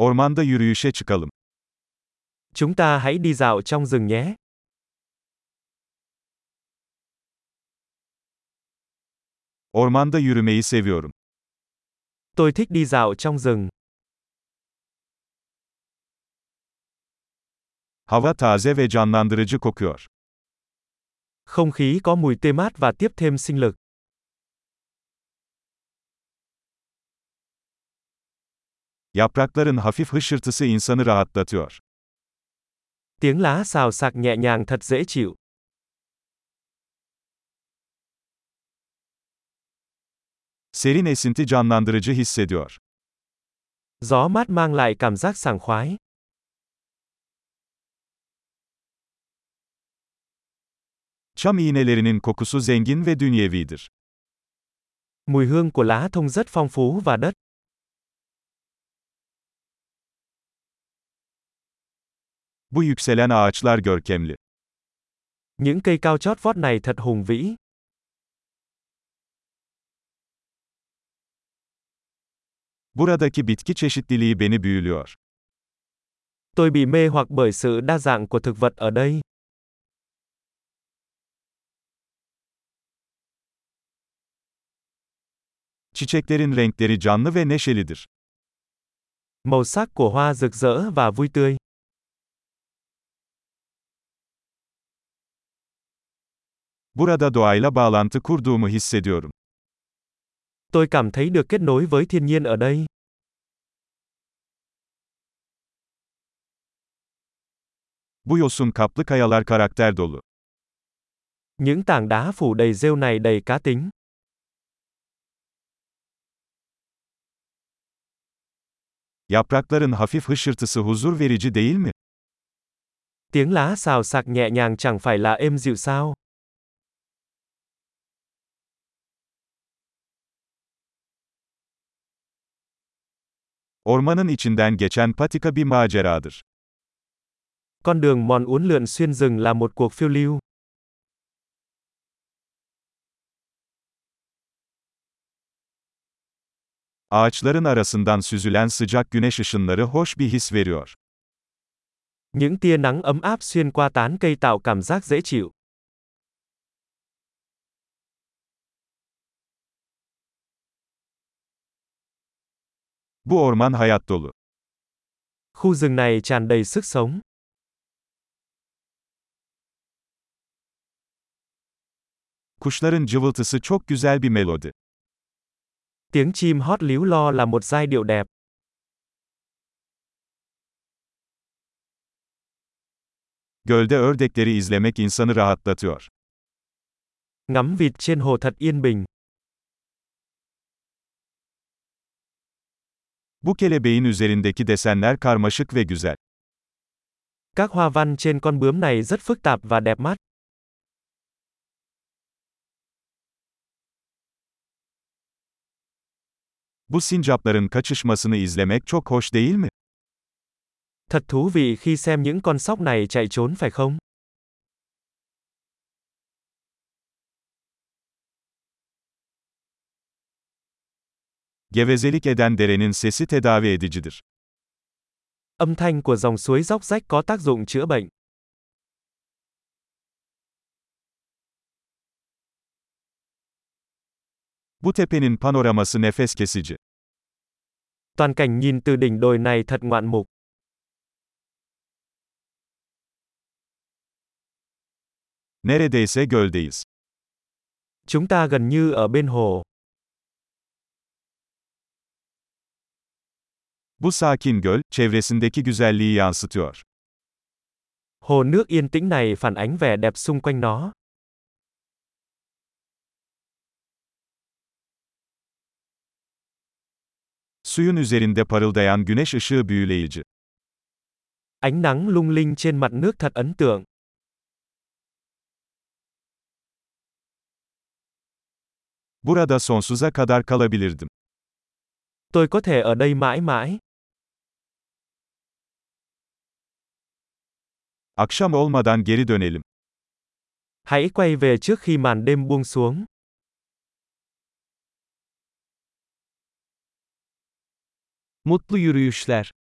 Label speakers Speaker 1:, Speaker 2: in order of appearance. Speaker 1: Ormanda yürüyüşe çıkalım.
Speaker 2: Chúng ta hãy đi dạo trong rừng nhé.
Speaker 1: Ormanda yürümeyi seviyorum.
Speaker 2: Tôi thích đi dạo trong rừng.
Speaker 1: Hava taze ve canlandırıcı kokuyor.
Speaker 2: Không khí có mùi tê mát và tiếp thêm sinh lực.
Speaker 1: Yaprakların hafif hışırtısı insanı rahatlatıyor.
Speaker 2: Tiếng lá xào xạc nhẹ nhàng thật dễ chịu.
Speaker 1: Serin esinti canlandırıcı hissediyor.
Speaker 2: Gió mát mang lại cảm giác sảng khoái.
Speaker 1: Çam iğnelerinin kokusu zengin ve dünyevidir.
Speaker 2: Mùi hương của lá thông rất phong phú và đất.
Speaker 1: Bu yükselen ağaçlar görkemli.
Speaker 2: Những cây cao chót vót này thật hùng vĩ.
Speaker 1: Buradaki bitki çeşitliliği beni büyülüyor.
Speaker 2: Tôi bị mê hoặc bởi sự đa dạng của thực vật ở đây.
Speaker 1: Çiçeklerin renkleri canlı ve neşelidir.
Speaker 2: Màu sắc của hoa rực rỡ và vui tươi.
Speaker 1: Burada doğayla bağlantı kurduğumu hissediyorum.
Speaker 2: Tôi cảm thấy được kết nối với thiên nhiên ở đây.
Speaker 1: Bu yosun kaplı kayalar karakter dolu.
Speaker 2: Những tảng đá phủ đầy rêu này đầy cá tính.
Speaker 1: Yaprakların hafif hışırtısı huzur verici değil mi?
Speaker 2: Tiếng lá xào xạc nhẹ nhàng chẳng phải là êm dịu sao?
Speaker 1: Ormanın içinden geçen patika bir maceradır.
Speaker 2: Con đường mòn uốn lượn xuyên rừng là một cuộc phiêu lưu.
Speaker 1: Ağaçların arasından süzülen sıcak güneş ışınları hoş bir his veriyor.
Speaker 2: Những tia nắng ấm áp xuyên qua tán cây tạo cảm giác dễ chịu.
Speaker 1: Bu orman hayat dolu.
Speaker 2: Khu rừng này tràn đầy sức sống.
Speaker 1: Kuşların cıvıltısı çok güzel bir melodi.
Speaker 2: Tiếng chim hót líu lo là một giai điệu đẹp.
Speaker 1: Gölde ördekleri izlemek insanı rahatlatıyor.
Speaker 2: Ngắm vịt trên hồ thật yên bình.
Speaker 1: Bu kelebeğin üzerindeki desenler karmaşık ve güzel.
Speaker 2: Các hoa văn trên con bướm này rất phức tạp và đẹp mắt.
Speaker 1: Bu sincapların kaçışmasını izlemek çok hoş değil mi?
Speaker 2: Thật thú vị khi xem những con sóc này chạy trốn phải không?
Speaker 1: Gevezelik eden derenin sesi tedavi edicidir.
Speaker 2: Âm thanh của dòng suối róc rách có tác dụng chữa bệnh.
Speaker 1: Bu tepenin panoraması nefes kesici.
Speaker 2: Toàn cảnh nhìn từ đỉnh đồi này thật ngoạn mục.
Speaker 1: Neredeyse göldeyiz.
Speaker 2: Chúng ta gần như ở bên hồ.
Speaker 1: Bu sakin göl, çevresindeki güzelliği yansıtıyor.
Speaker 2: Hồ nước yên tĩnh này phản ánh vẻ đẹp xung quanh nó.
Speaker 1: Suyun üzerinde parıldayan güneş ışığı büyüleyici.
Speaker 2: Ánh nắng lung linh trên mặt nước thật ấn tượng.
Speaker 1: Burada sonsuza kadar kalabilirdim.
Speaker 2: Tôi có thể ở đây mãi mãi.
Speaker 1: Akşam olmadan geri dönelim.
Speaker 2: Hãy quay về trước khi màn đêm buông xuống.
Speaker 3: Mutlu yürüyüşler.